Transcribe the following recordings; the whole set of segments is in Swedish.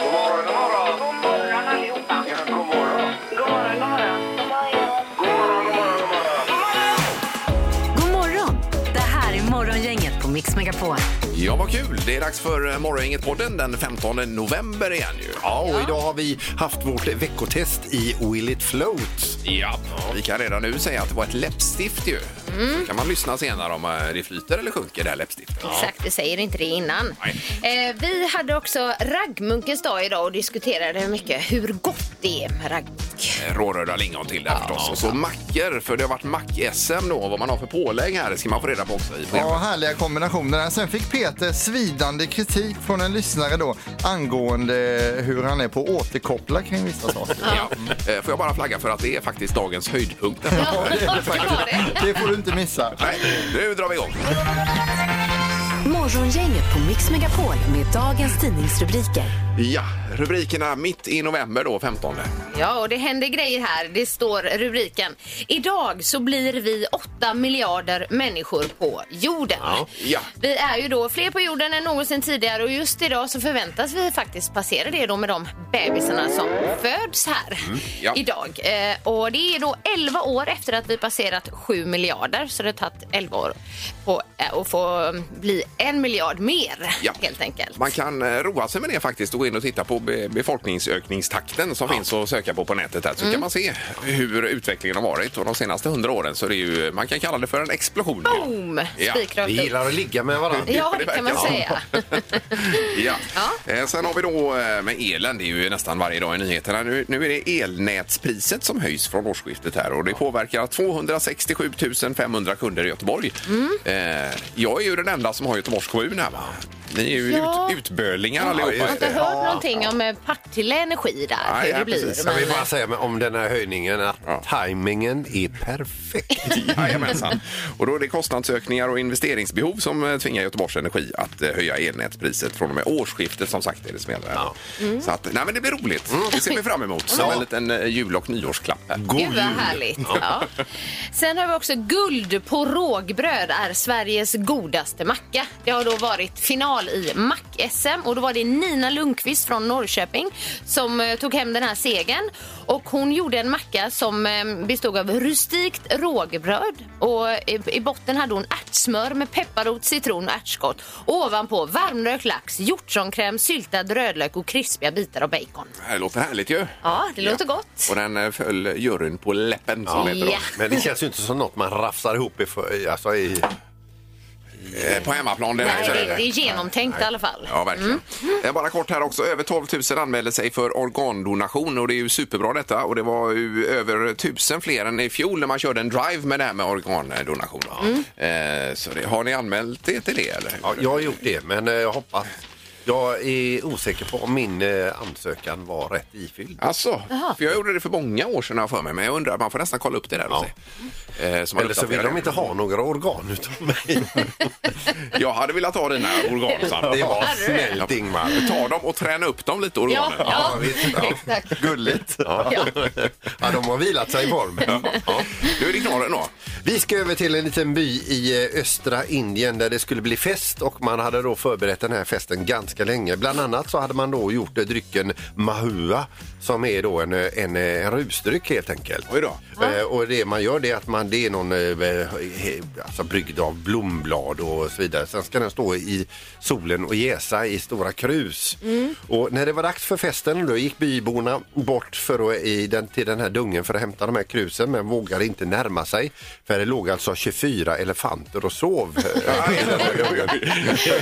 God morgon, god morgon. God morgon allihopa. Ja, god morgon. God morgon, god morgon. God morgon. God God morgon, god morgon, god morgon. morgon! Det här är Morgongänget på Mix Megapol. Ja, vad kul! Det är dags för eh, Morgongänget-podden den 15 november igen ju. Ja, och idag har vi haft vårt veckotest i Will it float? Ja. Vi kan redan nu säga att det var ett läppstift ju. Så kan man lyssna senare om eh, det flyter eller sjunker det här läppstiftet. Exakt, vi säger inte det innan. Eh, vi hade också raggmunkens dag idag och diskuterade mycket hur gott det är med raggmunk. Eh, Råröda lingon till där förstås. Och så mackor, för det har varit mack-SM då. Vad man har för pålägg här ska man få reda på också i Ja, programmet. härliga kombinationer. där. Sen fick Peter svidande kritik från en lyssnare då angående hur han är på att återkoppla kring vissa saker. Ja. Eh, Får jag bara flagga för att det är faktiskt dagens höjdpunkt. Ja, det var det. Det får du inte missa. Nej, nu drar vi igång. Morgongänget på Mix Megapol med dagens tidningsrubriker. Ja, rubrikerna mitt i november då, 15. Ja, och det händer grejer här. Det står rubriken. Idag så blir vi 8 miljarder människor på jorden. Ja. Vi är ju då fler på jorden än någonsin tidigare och just idag så förväntas vi faktiskt passera det då med de bebisarna som föds här Mm, ja. idag. Eh, och det är då 11 år efter att vi passerat 7 miljarder så det har tagit 11 år på, eh, att få bli en miljard mer Ja. helt enkelt. Man kan eh, roa sig med det faktiskt och gå in och titta på be- befolkningsökningstakten som finns att söka på på nätet. Här. Så Mm. kan man se hur utvecklingen har varit och de senaste hundra åren så det är ju, man kan kalla det för en explosion. Boom! Ja. Spikrakt Vi upp. gillar att ligga med varandra. Ja, det det kan man verkar så. säga. Ja. Ja. Eh, Sen har vi då eh, med elen, det är ju nästan varje dag i nyheterna. Nu, nu är det elnätspriset som höjs från årsskiftet här och det påverkar 267 500 kunder i Göteborg. Mm. Eh, Jag är ju den enda som har Göteborgs kommun här va? Ni är ju Ja. ut, utbölingar Jag har allihopa. inte hört någonting om eh, Partille Energi där, Nej, hur det nej, blir. precis. Jag men, vill bara säga med- om den här höjningen att Ja. tajmingen är perfekt. Jajamensan. Och då är det kostnadsökningar och investeringsbehov som eh, tvingar Göteborgs Energi att eh, höja elnätspriset från och med årsskiftet som sagt är det som gäller. här. Så att, nej men det blir roligt. Det ser vi fram emot. Som en liten eh, jul och nyårsklapp här. God Gud vad härligt. Ja. Sen har vi också guld på rågbröd är Sveriges godaste macka. Det har då varit final i mack-SM och då var det Nina Lundqvist från Norrköping som eh, tog hem den här segern. Och hon gjorde en macka som eh, bestod av rustikt rågbröd och i, i botten hade hon ärtsmör med pepparrot, citron och ärtskott. Och ovanpå varmrökt lax, hjortronkräm, syltad rödlök och krispiga bitar av bacon. Det här låter härligt ju. Ja, det låter gott. Och den eh, föll juryn på läppen som Ja. heter då. Ja. Men det känns ju inte som något man rafsar ihop i, för, i- alltså i Eh, På hemmaplan. Det här, Nej, så är det, Mm. det är genomtänkt i alla fall. Ja, verkligen. Eh, Bara kort här också. Över 12 000 anmälde sig för organdonation och det är ju superbra detta. Och det var ju över 1000 fler än i fjol när man körde en drive med det här med organdonation. Mm. Eh, Så det, har ni anmält er till det eller? Ja, jag har gjort det, men eh, jag hoppas... Jag är osäker på om min eh, ansökan var rätt ifylld. Alltså, för jag gjorde det för många år sedan har jag för mig, men jag undrar, man får nästan kolla upp det där och Ja. se. Eh, man Eller så vill uppdaterar de det. inte ha några organ utan mig. Jag hade velat ha dina organ, Sandra. Det var snällt, Ingmar. Ta dem och träna upp dem lite, organen. Ja, visst, ja. exakt. Gulligt. Ja. Ja, de har vilat sig i form. Ja. Nu är det knorren då. Vi ska över till en liten by i eh, östra Indien där det skulle bli fest och man hade då förberett den här festen ganska länge. Bland annat så hade man då gjort eh, drycken Mahua som är då en, eh, en, eh, en rusdryck helt enkelt. Oj då. Eh, och det man gör det är att man, det är någon eh, eh, alltså bryggd av blomblad och så vidare. Sen ska den stå i solen och jäsa i stora krus. Och när det var dags för festen då gick byborna bort för att, i den, till den här dungen för att hämta de här krusen men vågade inte närma sig. För det låg alltså 24 elefanter och sov.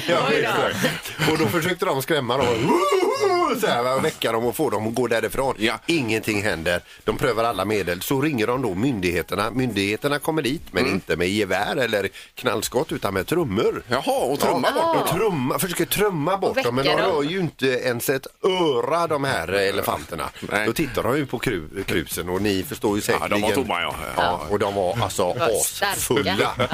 Ja, exakt. och då försökte de skrämma dem. Så här, va, väcka dem och få dem att gå därifrån. Ja. Ingenting händer. De prövar alla medel. Så ringer de då myndigheterna. Myndigheterna kommer dit, men Mm. inte med gevär eller knallskott utan med trummor. Jaha, och trumma bort Och trumma, försöker trumma bort Och dem, men de väcka dem. rör ju inte ens ett öra de här elefanterna. Nej. Då tittar de ju på kru, krusen och ni förstår ju Ja, säkerligen. de var tomma, ja. Ja, och de var alltså var starka. asfulla. Ja.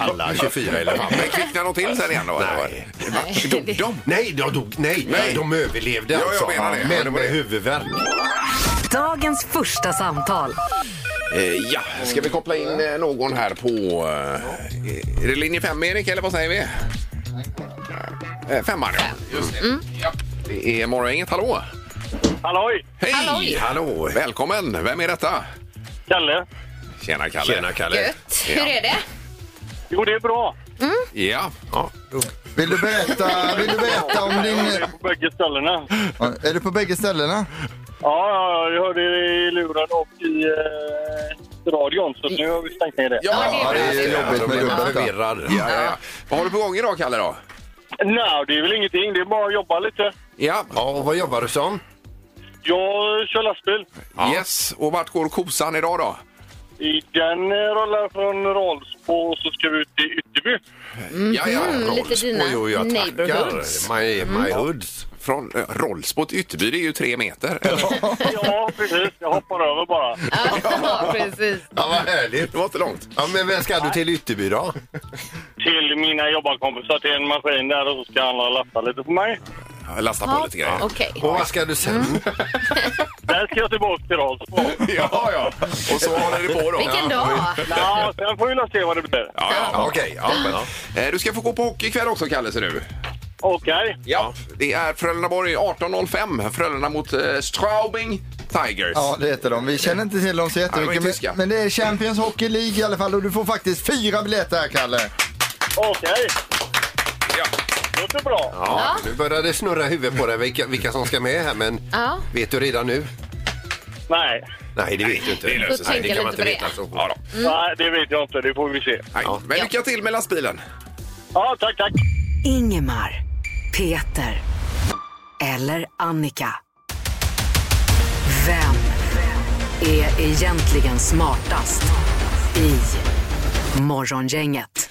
Alla 24 elefanter. Men kvicknade de till sen igen då? Nej. Nej. Dog de? Nej, de dog. Nej, Nej. de överlevde Ja, jag alltså. menar det. Ja, det Men var med det. huvudvärk. Dagens första samtal. Eh, ja, ska vi koppla in eh, någon här på... Eh, är det linje 5, Erik, eller vad säger vi? Eh, femman, ja. Just det. Ja. Det är Morgongänget, hallå! Halloj! Hej! Halloj! Hallå! Välkommen! Vem är detta? Kalle. Tjena Kalle! Tjena Kalle! Gött. Hur är det? Jo, det är bra. Ja, Ja, då- Vill du berätta, vill du berätta om din... Jag är på bägge ställena. Ja, Är du på bägge ställena? Ja, ja, jag hörde er i luren och i eh, radion, så nu har vi stängt ner det. Ja, det är Ja, det bra. är då jobbigt med blir man dubbelta. förvirrad. ja, ja, ja. Vad har du på gång idag Kalle då? Nej, det är väl ingenting. Det är bara att jobba lite. Ja, Ja, och vad jobbar du som? Jag kör lastbil. yes. Och vart går kosan idag då? I den eh, rullar från Rålsbo och så ska vi ut till Ytterby. Ja, ja. Mm, lite dina Oj, oj, jag neighborhoods. tackar. My, Mm. my hoods. Från eh, Rollsbo till Ytterby, det är ju tre meter. Ja, precis. Jag hoppar över bara. Ja, precis. Ja, vad härligt. det var inte långt. Ja, men vem ska du till Ytterby då? Till mina jobbarkompisar till en maskin där och så ska han lasta lite på mig. Jag lastar på Ja, lite grejer. Okej. Och vad ska du sen? Mm. Där ska jag tillbaka till Rålsbo. Ja, ja. Och så håller det på då. Vilken dag! Ja, sen får vi väl se vad det blir. Ja, ja. Ja, Okej, ja, men, ja. Eh, Du ska få gå på hockey ikväll också Kalle ser du. Okej. Ja. Det är Frölundaborg 18.05. Frölunda mot eh, Straubing Tigers. Ja, det heter de. Vi känner inte till dem så Nej, jättemycket. de är tyska. Men, men det är Champions Hockey League i alla fall och du får faktiskt fyra biljetter här, Kalle. Okej. Ja. Låter bra. Ja, nu börjar det snurra huvudet på dig vilka, vilka som ska med här, men Ja. vet du redan nu? Nej. Nej, det vet du inte. det löser sig. Nej, det kan man inte Tänker lite veta. på Så. Ja, då. Nej, det vet jag inte. Det får vi se. Nej. Men lycka till med lastbilen. Ja, tack, tack. Ingemar, Peter eller Annika. Vem är egentligen smartast i Morgongänget?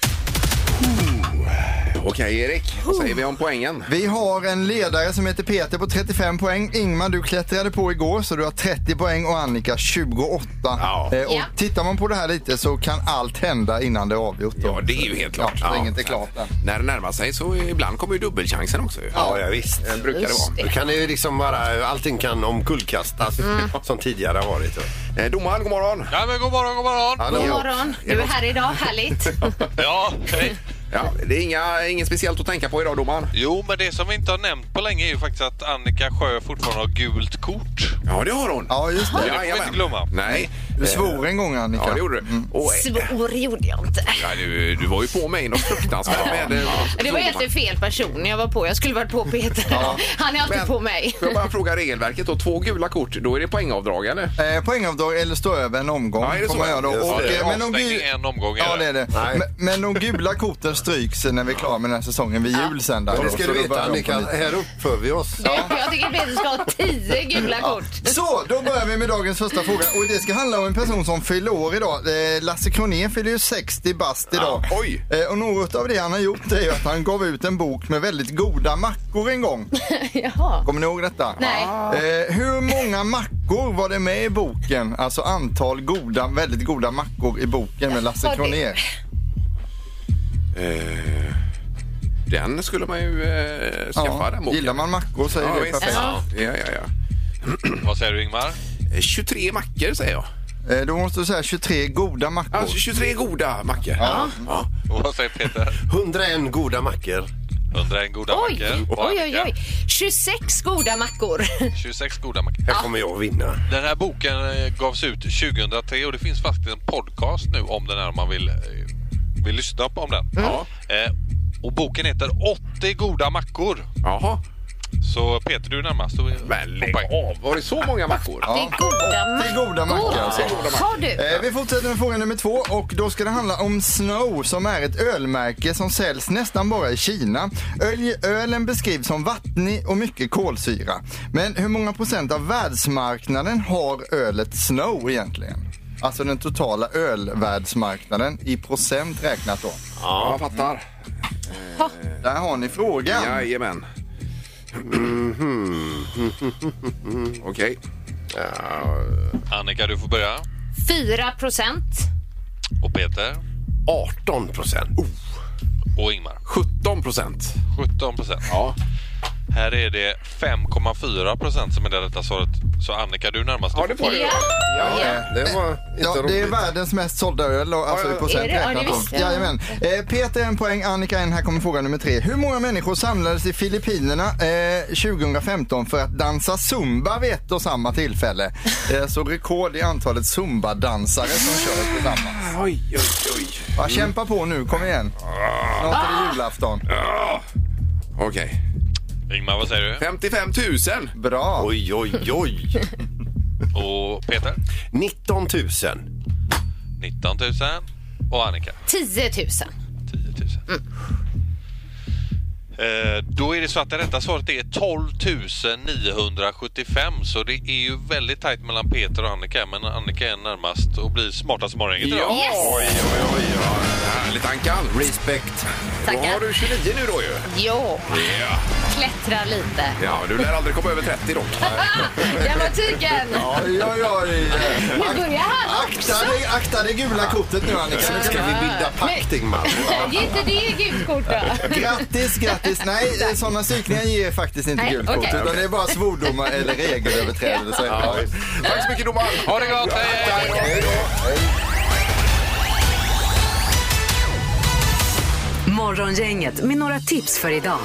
Okej Erik, vad säger vi om poängen? Vi har en ledare som heter Peter på 35 poäng. Ingmar, du klättrade på igår så du har 30 poäng och Annika 28. Ja. Eh, och Ja. tittar man på det här lite så kan allt hända innan det är avgjort. då. Ja, det är ju helt Ja, klart. så inget är klart än. När det närmar sig så ibland kommer ju dubbelchansen också. ju. Ja, ja, visst. Det brukar det vara. Då kan det ju liksom bara, allting kan omkullkastas Mm. som tidigare har varit. Eh, Domaren, god morgon. Ja, men god morgon, god morgon! God morgon. Du är här idag. Härligt. Ja, hej. Ja, det är inga, inget speciellt att tänka på idag domaren. Jo, men det som vi inte har nämnt på länge är ju faktiskt att Annika Sjö fortfarande har gult kort. Ja, det har hon. Ja, just det. får vi inte glömma. Nej. Du svor en gång, Annika. Ja, det gjorde du. Och, Svår gjorde jag inte. ja, du, du var ju på mig något fruktansvärt med... eh, Det var egentligen fel person jag var på. Jag skulle varit på Peter. Han är alltid Men- på mig. Får jag bara fråga regelverket då? Två gula kort, då är det poängavdrag eller? Eh, poängavdrag eller stå över en omgång. Ja, är det får så? man göra då. Just Och, det. eh, men de Avstängning gu- en omgång är Ja, det. det är det. Nej. Men, men de gula korten stryks när vi är klara med den här säsongen vid jul sen. Där, Men det då, ska så du då veta, börjar de på Annika, nytt. här uppför vi oss. Jag tycker Peter ska ha tio gula kort. Så, då börjar vi med dagens första fråga. Och det ska handla om en person som fyller år idag. Eh, Lasse Kronér fyller ju 60 bast idag. Ja, oj. Eh, Och något av det han har gjort är ju att han gav ut en bok med väldigt goda mackor en gång. Jaha. Kommer ni ihåg detta? Nej. Eh, hur många mackor var det med i boken? Alltså antal goda, väldigt goda mackor i boken med Lasse Jaha, det- Kronér. Eh, den skulle man ju eh, skaffa den boken. gillar man mackor så är Ja, det visst. perfekt. Ja, ja, ja. Vad säger du Ingmar? Eh, 23 mackor säger jag. Eh, då måste du säga 23 goda mackor. Alltså 23 goda mackor. Ja. Ja. Och vad säger Peter? 101 goda mackor. 101 goda Oj, mackor. Och oj, oj, Annika, oj. 26 goda mackor. 26 goda mackor. Här kommer jag vinna. Den här boken eh, gavs ut 2003 och det finns faktiskt en podcast nu om den här om man vill, eh, vill lyssna på om den. Ja. Eh, Och boken heter 80 goda mackor. Jaha. Så Peter, du är närmast. och- Men lägg och poäng. av. Var det så många mackor? Det är goda Det är mackor. goda mackor alltså. Har du? Eh, vi fortsätter med fråga nummer två och då ska det handla om Snow som är ett ölmärke som säljs nästan bara i Kina. Öl, ölen beskrivs som vattnig och mycket kolsyra. Men hur många procent av världsmarknaden har ölet Snow egentligen? Alltså den totala ölvärldsmarknaden i procent räknat då. Ja, jag fattar. Där har ni frågan. Jajamän. Mhm. Okej. Annika, du får börja. 4 procent. Och Peter 18 procent. Oh, och Ingmar. 17 procent. 17 procent. Ja. Här är det 5,4 procent som är det rätta svaret. Så Annika, du är närmast. Ja, det får du. Ja. Ja, det var inte Eh, Ja, det är roligt. världens mest sålda öl och alltså Ja, ja. i procent Är det? Ja, det räknat. visste då. jag. Jajamän. Eh, Peter en poäng, Annika en. Här kommer fråga nummer tre. Hur många människor samlades i Filippinerna eh, 2015 för att dansa zumba vid ett och samma tillfälle? Eh, så rekord i antalet zumbadansare som kör tillsammans. Oj, oj, oj. Mm. Va, kämpa på nu, kom igen. Snart är det julafton. Ah! Okej. Ingmar, vad säger du? 55 000! Bra. Oj, oj, oj. Och Peter? 19 000. 19 000. Och Annika? 10 000. 10 000. Mm. Eh, Då är det så att det rätta svaret är 12 975 så det är ju väldigt tajt mellan Peter och Annika men Annika är närmast och blir smartast i morgongänget idag. Oj, oj, oj. ja. Härligt Ankan. Respekt. Då har du 29 nu då ju. Jo, Ja. klättra lite. ja, du lär aldrig komma över 30 då. Dramatiken! Oj, oj, oj. Nu börjar han också! Akta dig, akta det gula kortet nu Annika. Nu ska vi bilda pakt, Ingmar. Ge inte det gult kort då! Grattis, grattis. Nej, eh, sådana psykningar ger faktiskt inte Nej, gult kort. okej. Utan det är bara svordomar eller regelöverträdelser. Ja. Tack så mycket domaren. Ha det gott! Hej! Hej då. Morgongänget med några tips för idag.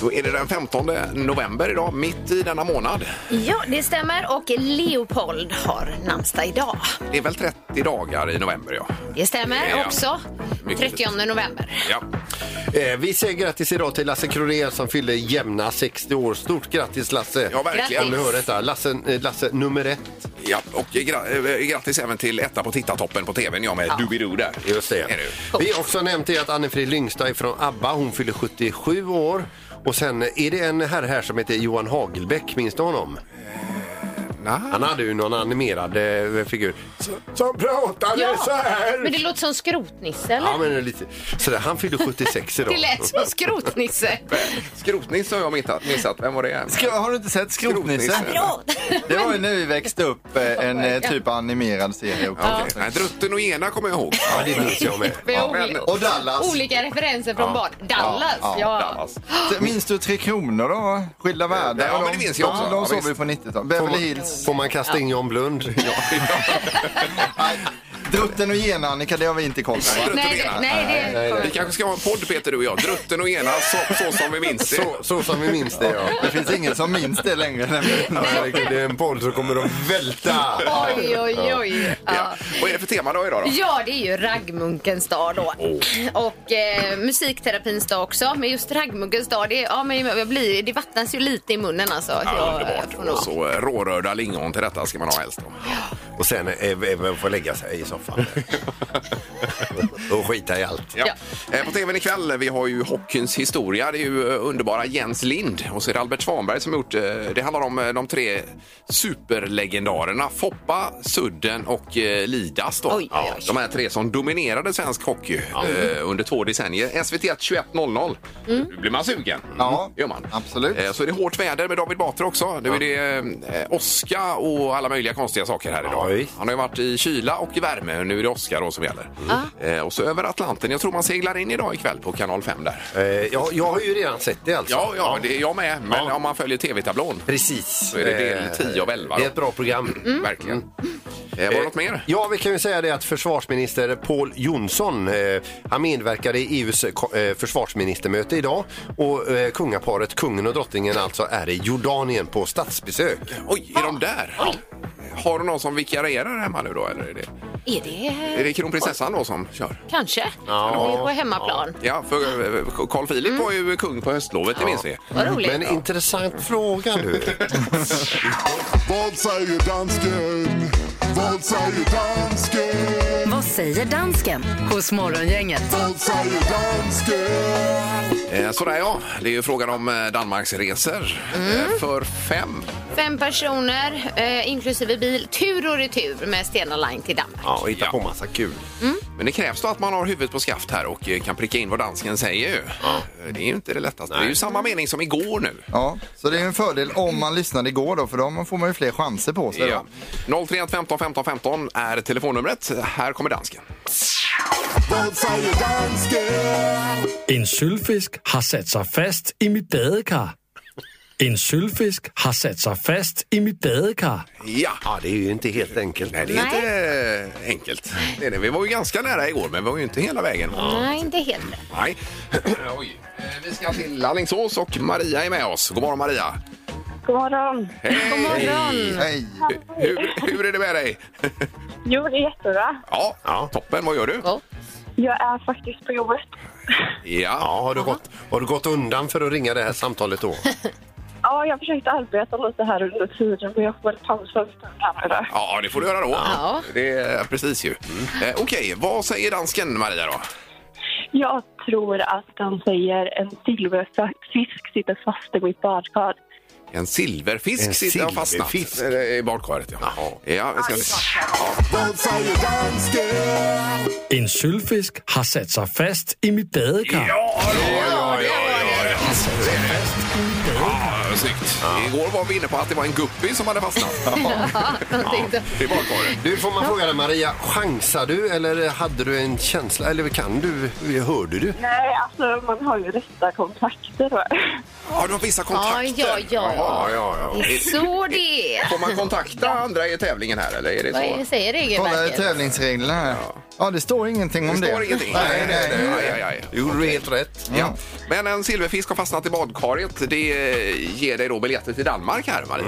Då är det den 15 november idag, mitt i denna månad. Ja, det stämmer. Och Leopold har namnsdag idag. Det är väl 30 dagar i november, ja. Det stämmer Ja. också. Mycket 30 november. ja. Eh, vi säger grattis idag till Lasse Kronér som fyller jämna 60 år. Stort grattis Lasse! Ja, verkligen. Om du hör detta, Lasse, eh, Lasse nummer ett. Ja, och gra- eh, grattis även till etta på tittartoppen på tvn, jag med Doobidoo där. Just det. Är det ju. Vi har också nämnt det att Anne-Frid Lyngstad från ABBA, hon fyller 77 år. Och sen är det en herre här som heter Johan Hagelbäck, minns du honom? Eh, Nej. Han hade ju någon animerad eh, figur. Som, som pratade så här! Men det låter som skrotnisse, eller? Ja, men lite. Så där, han fyller 76 idag. Det lät som skrotnisse. Skrotnisse har jag missat. missat. Vem var det? Skro- Har du inte sett Skrotnisse? Skrotnisse. Det var ju när vi växte upp eh, en eh, typ av animerad serie. också. Okej. Nej, Drutten och Ena kommer jag ihåg. Ja, det minns jag med. Vi har men- oli- Och Dallas. olika referenser från barn. Dallas, ja. ja, Dallas. Så Minns du Tre Kronor då? Skilda världar? Ja, och men de- det minns jag också. Ja, Ja, de såg visst. vi på 90-talet. Beverly Hills. Får man kasta in John Blund? Nej, Drutten och Gen-Annika, det har vi inte koll på. Drutten och Nej, det, Ena. nej, det Vi kanske ska ha en podd, Peter, du och jag. Drutten och Ena, så, så som vi minns det. Så, så som vi minns det, ja. Det finns ingen som minns det längre. nämligen. Herregud, det är en boll så kommer de välta. Oj, oj, oj. Ja. Ja. Vad är det för tema då idag då? Ja, det är ju raggmunkens dag då. Och eh, musikterapins dag också. Men just raggmunkens dag, det, ja, men jag blir, det vattnas ju lite i munnen alltså. Ja, Jag, eh, får underbart. nog- Och så eh, rårörda lingon till detta ska man ha helst. Då. Och sen även få lägga sig i soffan. Och skita i allt. Ja. Ja. Eh, På tvn ikväll vi har ju hockeyns historia. Det är ju eh, underbara Jens Lind och så är det Albert Svanberg som har gjort... eh, Det handlar om eh, de tre superlegendarerna Foppa, Sudden och eh, Lidas. Då. Oj, oj, oj. De här tre som dominerade svensk hockey eh, under två decennier. SVT 21.00. Mm. Nu blir man sugen. Mm. Ja, gör man. absolut. Eh, Så är det hårt väder med David Batra också. Nu är det eh, åska och alla möjliga konstiga saker här Ja, idag. visst. Han har ju varit i kyla och i värme. Nu är det åska då som gäller. Eh, och så över Atlanten. Jag tror man seglar in idag ikväll på kanal 5 där. Eh, ja, jag har ju redan sett det alltså. Ja, ja, det är jag med. Men Ja. om man följer tv-tablån. Precis. Så är det del Eh, 10 av 11 då. Det är ett bra program. Verkligen. Eh, var det något mer? Ja, vi kan ju säga det att försvarsminister Paul Jonsson, eh, han medverkade i EUs ko- eh, försvarsministermöte idag och eh, kungaparet, kungen och drottningen alltså, är i Jordanien på statsbesök. Oj, är de där? Har du någon som vikarierar hemma nu då? Eller är det, Är det... är det kronprinsessan då som kör? Kanske. Ja. Hon är på hemmaplan. Ja, för eh, Carl Philip var ju kung på höstlovet, det minns vi. Vad roligt. Mm. Men intressant fråga nu. Vad säger dansken? Vad säger dansken? Vad säger dansken hos Morgongänget? Vad säger dansken? Eh, Sådär ja, det är ju frågan om eh, Danmarks resor eh, för fem. Fem personer, eh, inklusive bil, tur och retur med Stena Line till Danmark. Ja, och hitta på massa kul. Men det krävs då att man har huvudet på skaft här och eh, kan pricka in vad dansken säger ju. Eh, Det är ju inte det lättaste. Det är ju samma mening som igår nu. Ja, så det är en fördel om man lyssnade igår då, för då får man ju fler chanser på Alltså, sig. Ja. Då. 031 15 15 15 är telefonnumret. Här kommer dansken. Vad säger dansken? En sølvfisk har sat sig fast i mit badekar. En sylfisk har satt sig fast i mitt badkar. Ja. Ja, det är ju inte helt enkelt. Nej, det är inte eh, enkelt. Det är det. Vi var ju ganska nära igår, men vi var ju inte hela vägen. Nej, inte helt rätt. Nej. Oj. Eh, Vi ska till Alingsås och Maria är med oss. God morgon Maria! God morgon. Hej! God morgon. Mm. Hej. Hur, hur är det med dig? Jo, det är jättebra. Ja, toppen. Vad gör du? Ja. Jag är faktiskt på jobbet. Ja. Ja, har du, gått, har du gått undan för att ringa det här samtalet då? Ja, jag försökte arbeta lite här under tiden, men jag får väl pausa en stund här nu. Ja, det får du göra då. Ja. Det är precis ju. Eh, Okej, vad säger dansken Maria då? Jag tror att han säger en silverfisk sitter fast i mitt badkar. En silverfisk En sitter och fastnat silverfisk. eh, i badkaret. Ja. Ja, vi ska se. Vad säger dansken? En sylfisk har satt sig fast i mitt badkar. Ja, ja, ja, ja, ja. Så är det. Ja, snyggt. Igår var vi inne på att det var en guppy som hade fastnat. tänkte- I badkaret. Du, får man fråga dig Maria, chansar du eller hade du en känsla, eller kan du, hörde du? Nej, alltså man har ju rätta kontakter. va? Ja, du har vissa kontakter. Ja, ja, ja. Jaha, ja, ja. Så det är. Får man kontakta andra i tävlingen här eller är det så? Vad är det säger Kolla i regelverket? tävlingsreglerna här. Ja, det står ingenting om Det det. står ingenting. Nej, nej, nej. Mm. Aj, aj, aj. Du gjorde helt rätt. Ja. Men en silverfisk har fastnat i badkaret. Det eh, ger dig då biljetter till Danmark här, Maria.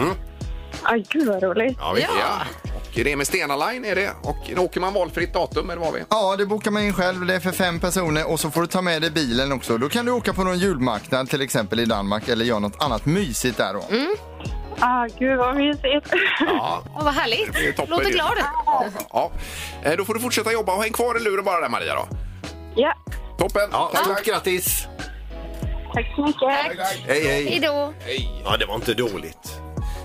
Aj, gud vad roligt. Ja, vi- Ja. Och det är med Stena Line är det. Och då åker man valfritt datum eller vad vi? Ja, det bokar man in själv. Det är för fem personer och så får du ta med dig bilen också. Då kan du åka på någon julmarknad till exempel i Danmark eller göra något annat mysigt där då. Mm. Ah, gud vad mysigt. Ja, Åh, vad det är härligt. toppen Låter ju. glad. Ja, ja. Eh, Då får du fortsätta jobba och häng kvar i luren bara där Maria då. Ja, Toppen! Ja, stort grattis! tack så mycket. Hej, Hej hej! då. Ja, det var inte dåligt.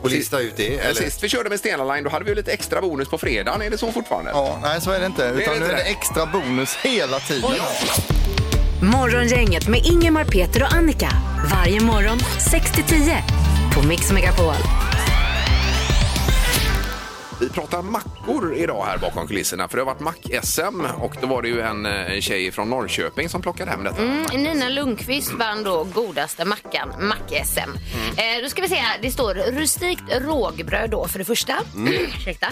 Och lista ut det, Eh, eller? Sist vi körde med Stena Line då hade vi ju lite extra bonus på fredagen. Är det så fortfarande? Ja, nej så är det inte. Utan inte nu är det det. extra bonus hela tiden. Morgongänget med Ingemar, Peter och Annika. Varje morgon 6 till 10 på Mix Megapol. Vi pratar mackor idag här bakom kulisserna för det har varit mack-SM och då var det ju en eh, tjej från Norrköping som plockade hem detta. Mm, Nina Lundqvist vann då godaste mackan, mack-SM. Mm. Eh, då ska vi se här, det står rustikt rågbröd då för det första. Mm. Ursäkta.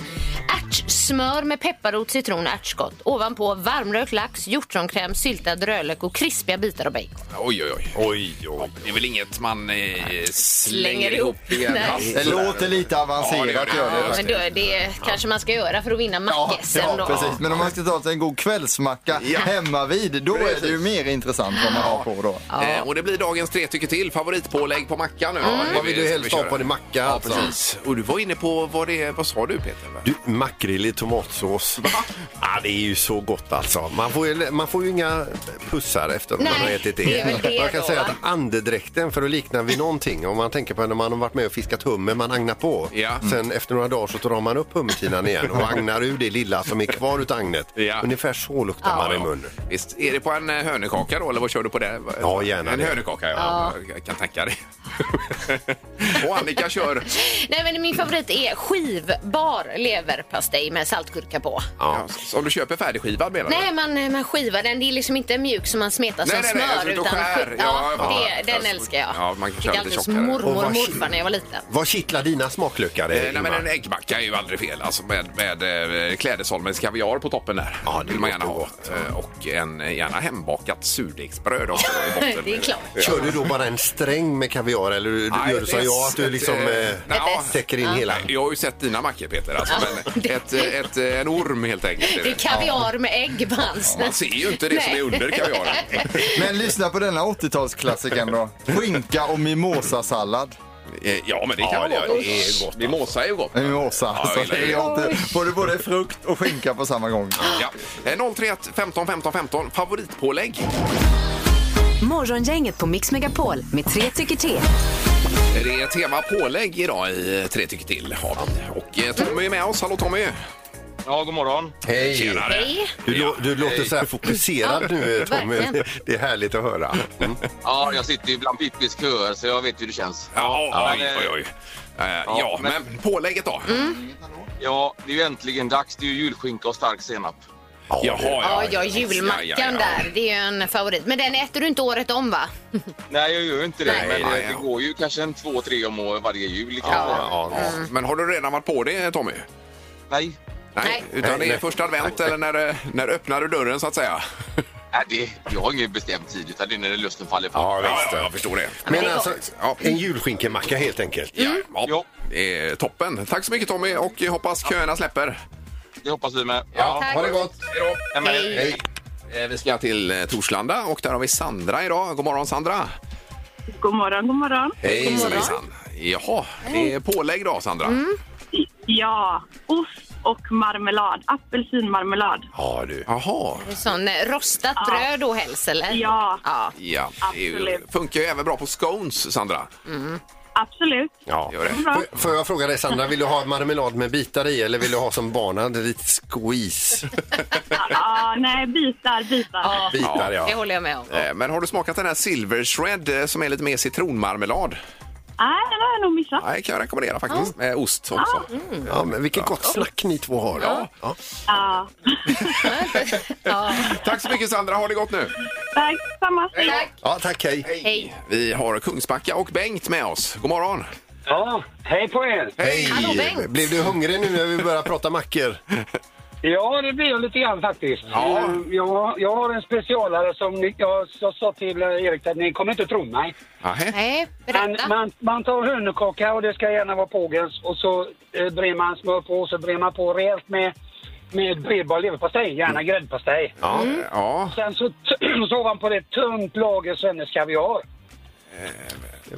Ärtsmör med pepparrot, citron och ärtskott. Ovanpå varmrökt lax, hjortronkräm, syltad rödlök och krispiga bitar av bacon. Oj, oj, oj. Oj, oj. Det är väl inget man eh, slänger Slänger ihop ihop. i en Nej. hast? Det låter lite Ja, det avancerat. gör det. gör det. Ja, men det, det kanske man ska göra för att vinna mack-SM ja, då. precis. Men om man ska ta sig en god kvällsmacka Ja. hemma vid, då är det ju mer intressant vad man har på då. Eh, och det blir dagens tre tycker till. Favoritpålägg på mackan nu. Ja, det Vad vill vi- du ska helst vi ha köra. på din macka? Ja, alltså? precis. Och du var inne på vad det är. Vad sa du Peter? va? Du, makrill i tomatsås. Ah, det är ju så gott alltså. Man får ju, man får ju inga pussar efter att man Nej, har ätit det. det är väl det man kan då, säga va? att andedräkten, för att likna vid någonting, om man tänker på när man har varit med och fiskat hummer, man agnar på. Ja. Sen efter några dagar så drar man upp hummertinan igen och agnar ur det lilla som är kvar utav agnet. Ja. Ungefär så luktar man i munnen. Visst, är det på en eh, hönökaka då eller vad kör du på det? Ja, gärna En det. hönökaka, ja. Jag kan tänka dig. och Annika kör. Nej, men min favorit är skivbar leverpastej med saltgurka på. Ja, som du köper färdigskivad menar du? Nej, man, man skivar den. Det är liksom inte mjuk som man smetar som Nej, nej, nej, smör. alltså, du utan skär. sk- Ja, Ja, ja, det, ja. den älskar jag. Ja, man kan köra Fick alltid lite hos tjockare. mormor Och och vad- morfar när jag var liten. Vad kittlar dina smaklökar? Eh, Nej, men Ingmar? en äggmacka är ju aldrig fel. Alltså med, med eh, klädesholmens kaviar på toppen där. Ja, det vill man gärna låter ha. Eh, Och en, eh, gärna hembakat surdegsbröd också då i botten. Det är klart. Kör du då bara en sträng med kaviar eller du- Nej, gör du som ett- jag att du ett, liksom eh, eh, ja. täcker in hela? Jag har ju sett dina mackor Peter. Alltså, men det- ett, eh, ett, eh, en orm helt enkelt. är Det är det. kaviar med ägg på hans. Man ser ju inte det som är Nej. under kaviaren. Men lyssna på denna 80-talsklassikern då. Skinka och mimosasallad. Eh, Ja, men det kan Ja, vara det är gott. gott, alltså. Mimosa är ju gott. Mimosa. Ja, alltså, jag gillar det det. är inte, både, både frukt och skinka på samma gång. Ja. Eh, 031 15 15 15. Favoritpålägg? Morgongänget på Mix Megapol med tre tycker till. Det är tema pålägg idag i eh, Tre tycker till. har vi. Och eh, Tommy är med oss. Hallå Tommy! Ja, god morgon. Hej! Tjenare! Hej. Du, lå- du låter så här fokuserad nu eh, Tommy. verkligen. Det är härligt att höra. Mm. Ja, jag sitter ju bland Pippis köer så jag vet hur det känns. Ja, oj, men, oj, oj. Eh, ja, men, pålägget då? Ja, det är ju äntligen dags. Det är ju julskinka och stark senap. Jaha, Ja, ja. ja, julmackan Ja, ja, ja. där. Det är ju en favorit. Men den äter du inte året om, va? Nej, jag gör ju inte det. Nej, men nej, det, ja. det går ju kanske en två, tre om år varje jul. liksom. Ja, kanske. ja, ja. Men har du redan varit på det, Tommy? Nej. Nej, Nej. utan det är Nej. första advent eller när, eh, när öppnar du dörren så att säga? Nej, det, jag har ingen bestämd tid, utan det är när lusten faller fram. Ja, visst. jag förstår det. Men alltså, ja, en julskinkemacka helt enkelt. Mm. Ja, Ja. det är toppen. Tack så mycket Tommy och jag hoppas köerna släpper. Det hoppas vi med. Tack. Ha det gott! Nej, men- Hej! Eh, Vi ska till eh, Torslanda och där har vi Sandra idag. God morgon Sandra! God morgon, god morgon. Hej hejsan! Jaha, det är pålägg idag Sandra. Ja, ost och marmelad. Apelsinmarmelad. Ja, du. Jaha, Sån eh, rostat bröd och helst, eller? Ja. ja. ja. Det är ju, Absolut. funkar ju även bra på scones Sandra. Absolut. Ja. Gör det. Får- Får jag fråga dig Sandra, vill du ha marmelad med bitar i eller vill du ha som barn hade lite squeeze? Ja, nej, bitar, bitar. Ja, Bitar det ja. håller jag med om. Eh, Men har du smakat den här Silver Shred eh, som är lite mer citronmarmelad? Nej, den har jag nog missat. Nej, kan jag rekommendera faktiskt. Med ost också. ja Mm. men vilket gott snack ni två har. Ja. Ja. Ja. Ja. Tack så mycket Sandra, ha det gott nu! Tack, samma. Tack. tack hej. Hej. Vi har Kungsbacka och Bengt med oss. God morgon! Ja, hej på er! Hej! Hallå, Bengt. Blev du hungrig nu när vi börjar prata mackor? Ja, det blir jag lite grann faktiskt. Ja. Eh, Jag, jag har en specialare som ni, jag, jag sa till eh, Erik att ni kommer inte tro mig. Nähä. Nej, Man, berätta. man, man tar hönökaka och det ska gärna vara pågens och så eh, brer man smör på och så brer man på rejält med, med bredbar leverpastej, gärna gräddpastej. Ja, ja. Sen så, så ovanpå det tunt lager Svennes kaviar.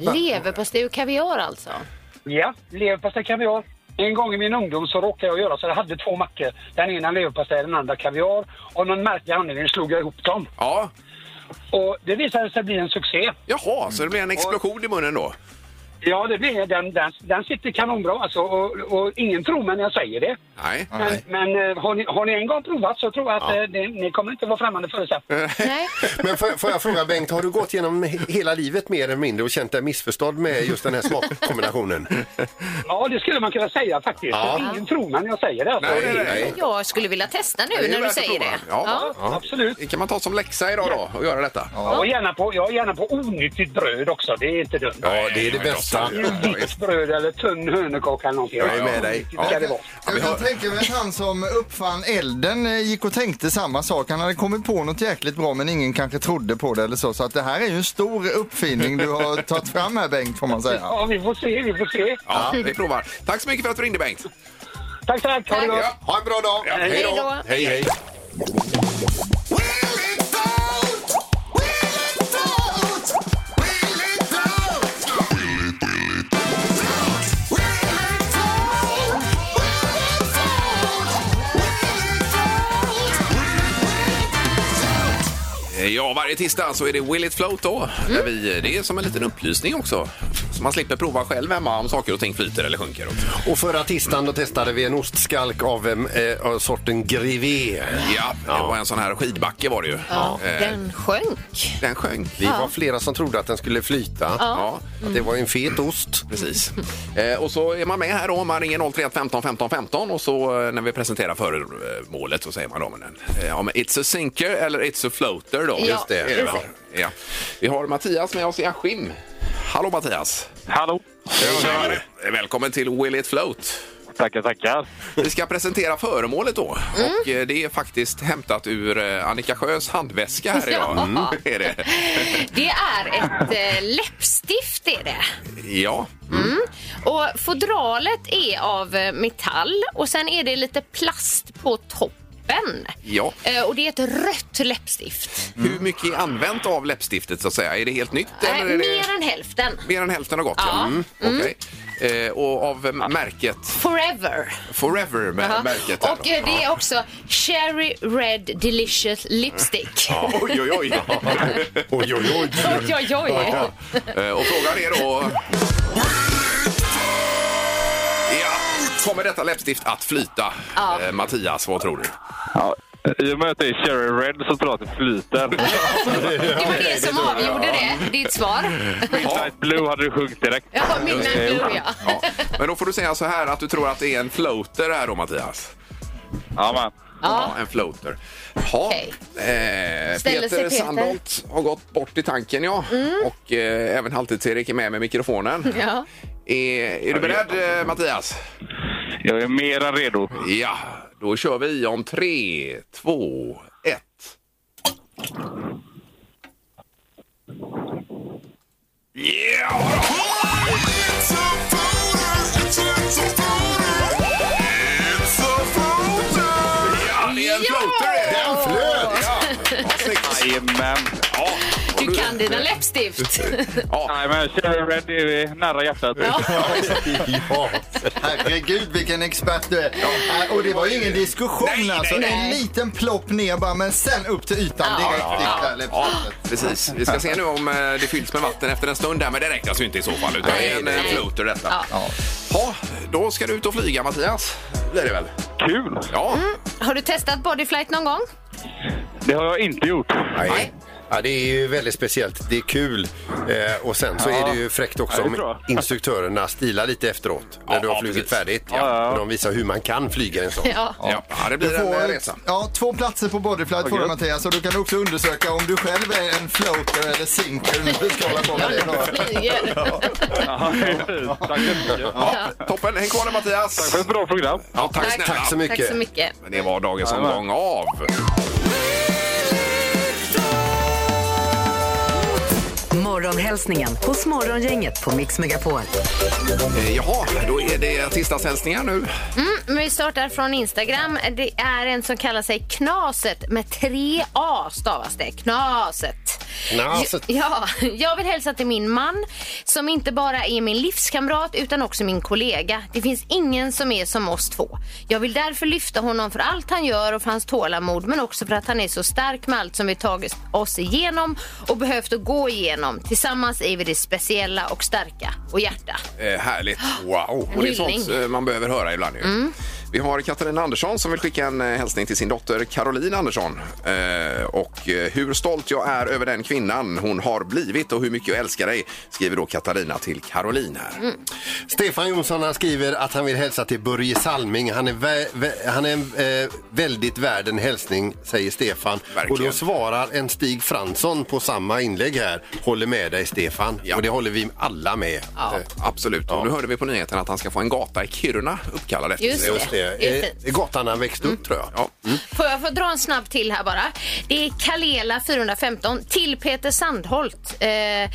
Leverpastej och kaviar alltså? Ja, leverpastej kaviar. En gång i min ungdom så råkade jag göra så jag hade två mackor. Den ena leverpastej, den andra kaviar. Av någon märklig anledning slog jag ihop dem. ja. Och det visade sig bli en succé. Jaha, så det blir en explosion i munnen då? Ja, det blir, den, den, den sitter kanonbra alltså. Och, och ingen tror mig när jag säger det. Nej. Men, men eh, har, ni, har ni en gång provat så tror jag att eh, det, ni kommer inte vara främmande för det sen. Eh. Nej. Men får, får jag fråga Bengt, har du gått genom he- hela livet mer eller mindre och känt dig missförstådd med just den här smakkombinationen? Ja, det skulle man kunna säga faktiskt. Ja. För Ingen tror mig när jag säger det. Alltså. Nej, nej, nej. Jag skulle vilja testa Det nu när är värt du att säger prova. det. Ja. Absolut. Det kan man ta som läxa idag då och göra detta? Jag är gärna på, jag är gärna på onyttigt bröd också. Det är inte dumt. Ja, det är det Ja, bästa. ja, ja, visst. Vitt bröd eller tunn hönökaka eller någonting. Jag är med dig. Det ska det vara. vi Jag har- kan tänka mig att han som uppfann elden eh, gick och tänkte samma sak. Han hade kommit på något jäkligt bra men ingen kanske trodde på det eller så. Så att det här är ju en stor uppfinning du har tagit fram här Bengt får man säga. Ja, vi får se, vi får se. Ja, vi provar. Tack så mycket för att du ringde Bengt. Tack, tack. Ha det gott. Ja. Ha en bra dag! hej Hej då. då! Hej, hej! Ja, varje tisdag så är det Will it float då. Där Vi, det är som en liten upplysning också. Så man slipper prova själv hemma om saker och ting flyter eller sjunker. Och förra tisdagen då testade vi en ostskalk av eh, av sorten Grivé. Ja, det var en sån här skidbacke var det ju. Ja, Eh, den sjönk. Den sjönk. Vi var flera som trodde att den skulle flyta. Ja, Att det var en fet ost. precis. Eh, och så är man med här då. Man ringer 031 15 15 15 och så eh, när vi presenterar föremålet så säger man då med den. Eh, ja, men it's a sinker eller it's a floater då. Ja, Just det. Är det va? precis. ja. Vi har Mattias med oss i Askim. Hallå Mattias! Eh, Hallå. Välkommen till Will it float! Tackar, tackar. Vi ska presentera föremålet då. Mm. Och eh, det är faktiskt hämtat ur eh, Annika Sjös handväska här idag. Ja. Mm. Är det? Det är ett eh, läppstift är det. Ja. Och fodralet är av eh, metall och sen är det lite plast på toppen. Ja. Eh, Och det är ett rött läppstift. Hur mycket är använt av läppstiftet så att säga? Är det helt nytt? Nej, eller är det... Eh, mer än hälften. Mer än hälften har gått? Mm, Ja. Mm. Okej. Eh, och av eh, märket Forever. Forever med Ja. märket här Och då. eh, det är också Cherry Red Delicious Lipstick. Ja. Oj, oj, oj. Oj, oj, oj! Oj, oj, oj. Eh, och frågan är då... Ja, kommer detta läppstift att flyta? Ja. Eh, Mattias, vad tror du? Ja, I och med att det är Cherry Red så tror jag att det flyter. Det var det som avgjorde det. Ditt svar. Midnight Blue hade du sjunkit direkt. Ja, Midnight Blue, ja. Ja. Men då får du säga så här att du tror att det är en floater här då Mattias. Ja, man. Ja, en floater. Ja. Eh, Ställer sig Peter Peter. Sandholt har gått bort i tanken, ja. Och eh, även Halvtids-Erik är med med mikrofonen. Ja. Är, är du beredd, eh, Mattias? Jag är mer än redo. Ja, då kör vi om tre, två, ett. Ja, det är en floater! det är Den flöt! Ja. Jajamän. Du kan dina läppstift. Nej, men Cherry Red är nära hjärtat. Ja. Herregud vilken expert du är. Äh, Och det var ju ingen diskussion alltså. nej. En liten plopp ner bara men sen upp till ytan direkt. Ja, Ja, ja, precis. Vi ska se nu om eh, det fylls med vatten efter en stund där, men det räknas ju inte i så fall. Utan det är en eh, floater detta. Ja. då ska du ut och flyga Mattias. Blir det väl? Kul! Ja. Har du testat bodyflight någon gång? Det har jag inte gjort. Nej. Ja, det är ju väldigt speciellt. Det är kul. Eh, och sen så Ja. är det ju fräckt också Ja, det är om bra. instruktörerna stilar lite efteråt när du har flugit färdigt. Ja. Och de visar hur man kan flyga en sån. Ja. Ja. det blir Du får, en eh, resa. Äh, Ja, två platser på bodyflight får du Mattias och du kan också undersöka om du själv är en floater eller sinker. om Du ska hålla på med det. då. Ja, det är fint. Tack så mycket. Toppen, häng kvar där Mattias. Tack för ett bra program. Ja, tack, snälla. Tack så mycket. Men det var dagens Jajamän. omgång av... Morgonhälsningen hos Morgongänget på Mix Megapol. Eh, jaha, då är det tisdagshälsningar nu. Mm, men vi startar från Instagram. Det är en som kallar sig Knaset med tre A stavas det. Knaset. Knaset. Ja, jag vill hälsa till min man som inte bara är min livskamrat utan också min kollega. Det finns ingen som är som oss två. Jag vill därför lyfta honom för allt han gör och för hans tålamod men också för att han är så stark med allt som vi tagit oss igenom och behövt att gå igenom. Tillsammans är vi det speciella och starka och hjärta. Eh, härligt. Wow. En Och det är hyllning. Mm. sånt eh, man behöver höra ibland. Ju. Vi har Katarina Andersson som vill skicka en eh, hälsning till sin dotter Caroline Andersson. Eh, och eh, hur stolt jag är över den kvinnan hon har blivit och hur mycket jag älskar dig, skriver då Katarina till Caroline här. Mm. Stefan Jonsson han skriver att han vill hälsa till Börje Salming. Han är, vä- vä- han är en, eh, väldigt värd en hälsning, säger Stefan. Och då svarar en Stig Fransson på samma inlägg här. Håller med dig Stefan. Och det håller vi alla med. Ja. Eh, Absolut. Och nu hörde vi på nyheten att han ska få en gata i Kiruna uppkallad efter Just sig. det. Mm. Just det. Det är Eh, Gatan han växte upp tror jag. Ja. Får jag få dra en snabb till här bara? Det är Kalela 415 till Peter Sandholt. Eh, eh,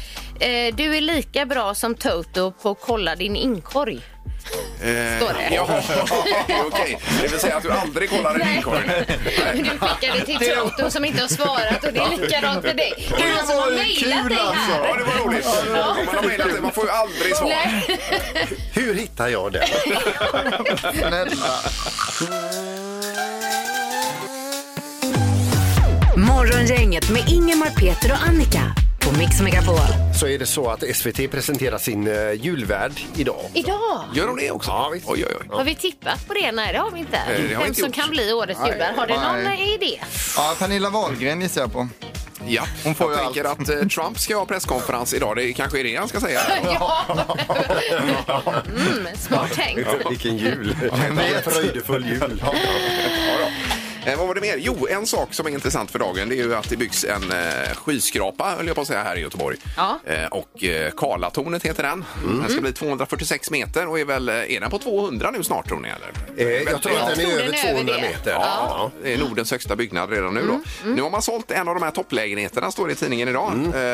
du är lika bra som Toto på Kolla din inkorg. Eh, Står det. Jaha, okej. Det vill säga att du aldrig kollar i inkorgen. Men du skickade till Det Toto som inte har svarat och det är likadant för dig. Det är någon som har mejlat dig här. Ja, det var roligt. Man, har mejlat det. man får ju aldrig svar. Nej. Hur hittar jag det? Snälla. Morgongänget med Ingemar, Peter och Annika på Mix Megapol. Så är det så att SVT presenterar sin eh, julvärd idag. Idag? Gör de det också? Ja, visst. Oj, oj, oj. Har vi tippat på det? Nej, det har vi inte. Nej, det har vi Vem inte som gjort. kan bli årets Nej. julvärd. Har du någon Nej. idé? Ja, Pernilla Wahlgren gissar jag på. Ja, Hon får jag ju tänker att eh, Trump ska ha presskonferens idag. Det kanske är det han ska säga. Mm, smart tänkt. Vilken jul! Vilken fröjdefull jul! Eh, vad var det mer? Jo, en sak som är intressant för dagen det är ju att det byggs en eh, skyskrapa, höll jag på att säga, här i Göteborg. Ja. Eh, och eh, Karlatornet heter den. Den ska bli 246 meter och är väl, eh, är den på 200 nu snart tror ni eller? Eh, jag tror att den är tror över den är över 200 det. meter. Ja, det är Nordens högsta byggnad redan nu. Då. Nu har man sålt en av de här topplägenheterna, står det i tidningen idag.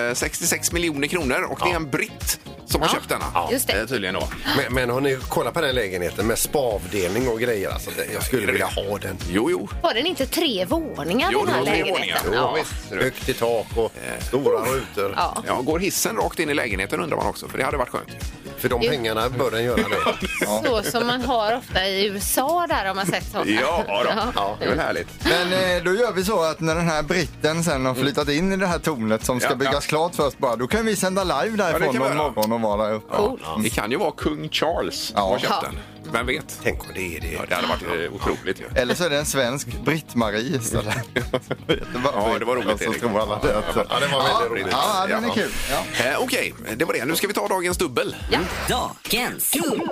Eh, 66 miljoner kronor och det är en britt som har köpt denna. Just det. Eh, Tydligen då. Men, men har ni kollat på den lägenheten med spavdelning och grejer? Alltså, det- jag skulle vilja ha den. Jo, jo. Var den inte tre våningar Jo, den här det var tre lägenheten? våningar. Jo, visst. Högt i tak och stora rutor. Ja. Eh. Ja, går hissen rakt in i lägenheten undrar man också, för det hade varit skönt. För de pengarna bör den göra nu. Så som man har ofta i USA där har man sett sådana. ja, det är väl härligt. Men eh, då gör vi så att när den här britten sen har flyttat in i det här tornet som ska Ja, ja. byggas klart först bara, då kan vi sända live därifrån kan vi någon göra. morgon och vara där uppe. Coolt. Det kan ju vara kung Charles som Ja. har köpt den. Vem vet? Tänk om det är det. Ja, det hade varit eh, otroligt ju. Eller så är det en svensk Britt-Marie istället. Ja, det var roligt, Så Erik. tror alla det. Ja, det var väldigt roligt. Ja, den är kul. Ja. Eh, Okej, det var det. Nu ska vi ta dagens dubbel. Dagens dubbel.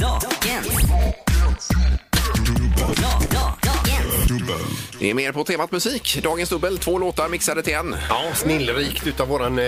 Dagens Det är mer på temat musik. Dagens dubbel, två låtar mixade till en. Ja, snillrikt utav våran eh,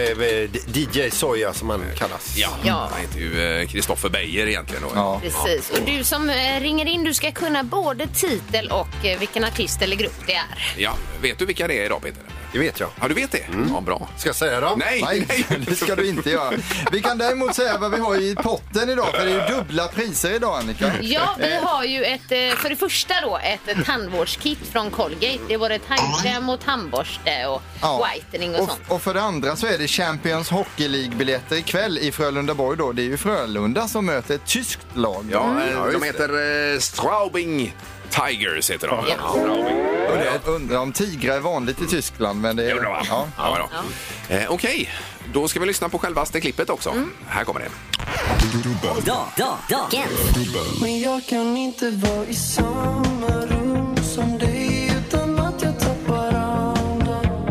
d- DJ Soja som han kallas. Ja, Ja. han heter ju Kristoffer Beijer egentligen. Då. Precis. Och du som eh, ringer in, du ska kunna både titel och eh, vilken artist eller grupp det är. Ja, vet du vilka det är idag Peter? Det vet jag. Ja, du vet det? Mm. Ja, bra. Ska jag säga då? Nej, nej, Nej, det ska du inte göra. Vi kan däremot säga vad vi har i potten idag, för det är ju dubbla priser idag, Annika. Mm. Ja, vi Eh, har ju ett, eh, för det första då, ett eh, tandvårdskit från Colgate. Det är både tandkräm och tandborste och ja. whitening och och, sånt. och för det andra så är det Champions Hockey League-biljetter ikväll i Frölundaborg då. Det är ju Frölunda som möter ett tyskt lag. Mm. Ja, eh, de heter eh, Straubing Tigers. Heter de. Ja. Straubing. Jag undrar om tigrar är vanligt i Tyskland, men det är... Gjorde de, va? Ja. Ja, ja. Eh, Okej, då ska vi lyssna på självaste klippet också. Mm. Här kommer det. Dag, dag, dagens. Men jag kan inte vara i samma rum som dig utan att jag tappar andan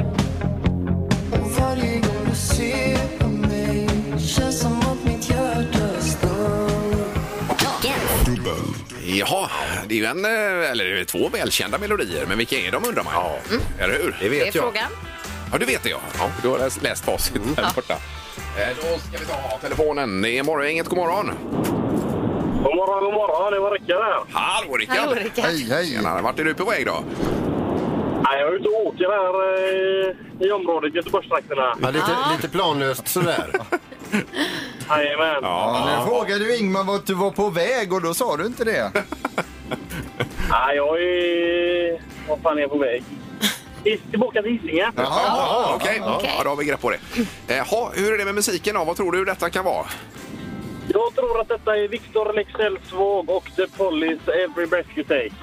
Och varje gång du ser på mig känns som att mitt hjärta stannar Jaha, det är ju en, eh, eller det är två välkända melodier, men vilka är de undrar man? Ja. Eller hur? Det Det är frågan. Ja, du vet det ja. ja. Du har läst, läst facit där borta. Eh, Då ska vi ta telefonen. Det är Morgongänget, god morgon. God morgon, god morgon. Det var Rickard här. Hallå Rickard! Hallå, Rickard. Hej, hej! Tjenare, vart är du på väg då? Nej, jag är ute och åker här eh, i området, Göteborgstrakterna. Ja, lite, lite planlöst sådär. Jajamän. Ja, nu frågade du Ingmar vart du var på väg och då sa du inte det. Nej, jag är... Vad fan är jag på väg? Is- Tillbaka till Hisingen. Jaha, okej. Okej. Ja, då har vi grepp på det. Eh, ha, hur är det med musiken då? Vad tror du detta kan vara? Jag tror att detta är Victor Leksells våg och The Polly's Every Breath You Take.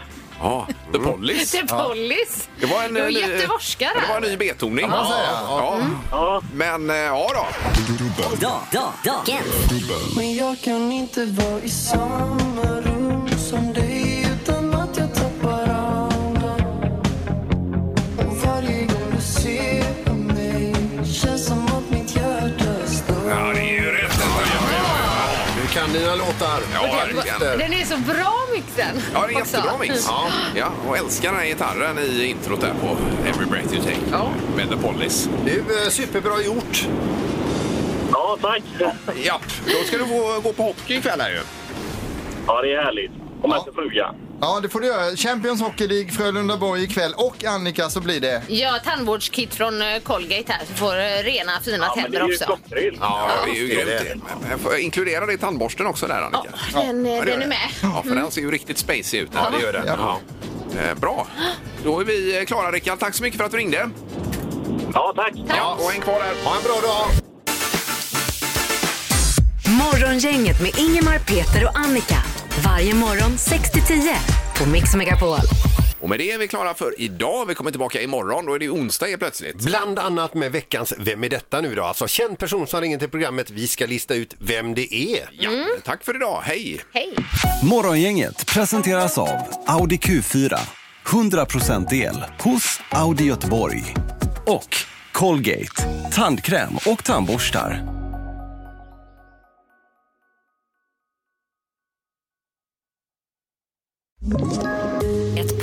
Ja, The Police. Det är Pollis. Det var en, Du är eh, ny- jätteforskare. Det var en ny betoning. Kan man säga. Ja. Ja, Men eh, ja då. Dag, dag, dagens. Men jag kan inte vara i samma rum som dig utan att jag tappar andan Och varje gång du ser på mig känns som att mitt hjärta stannar Ja, det är ju rätt. Du kan dina låtar. Ja, verkligen. Den är så bra mixen. Ja, det är också. jättebra mix. Ja. ja, och älskar den här gitarren i introt där på Every Breath You Take Ja. med The Police. Det är eh, superbra gjort. ja tack. Ja, då ska du gå, gå på hockey ikväll här ju. Ja, det är härligt. Kom här till frugan. Ja, det får du göra. Champions Hockey League, Frölunda-Borg ikväll och Annika så blir det... Ja, tandvårdskit från eh, Colgate här. Så får eh, rena fina Ja, men det tänder är ju också. klockrent. Ja, det är ju det är grymt. det. Men får jag Inkludera det i tandborsten också där, Ja, Annika. den, eh, Ja, det den gör är det. med. Mm. Ja, för den ser ju riktigt spacey ut. Ja, det gör den. Ja. Eh, Bra. Då är vi eh, klara, Rickard. Tack så mycket för att du ringde. Ja, tack. Ja, och häng kvar där. Ha en bra dag. Morgongänget med Ingemar, Peter och Annika. Varje morgon 6 till 10 på Mix Megapol. Och med det är vi klara för idag. Vi kommer tillbaka imorgon. Då är det onsdag helt plötsligt. Bland annat med veckans Vem är detta nu då? Alltså känd person som ringer till programmet. Vi ska lista ut vem det är. Ja, tack för idag. Hej! Hej! Morgongänget presenteras av Audi Q4. 100% el hos Audi Göteborg. Och Colgate. Tandkräm och tandborstar. Ett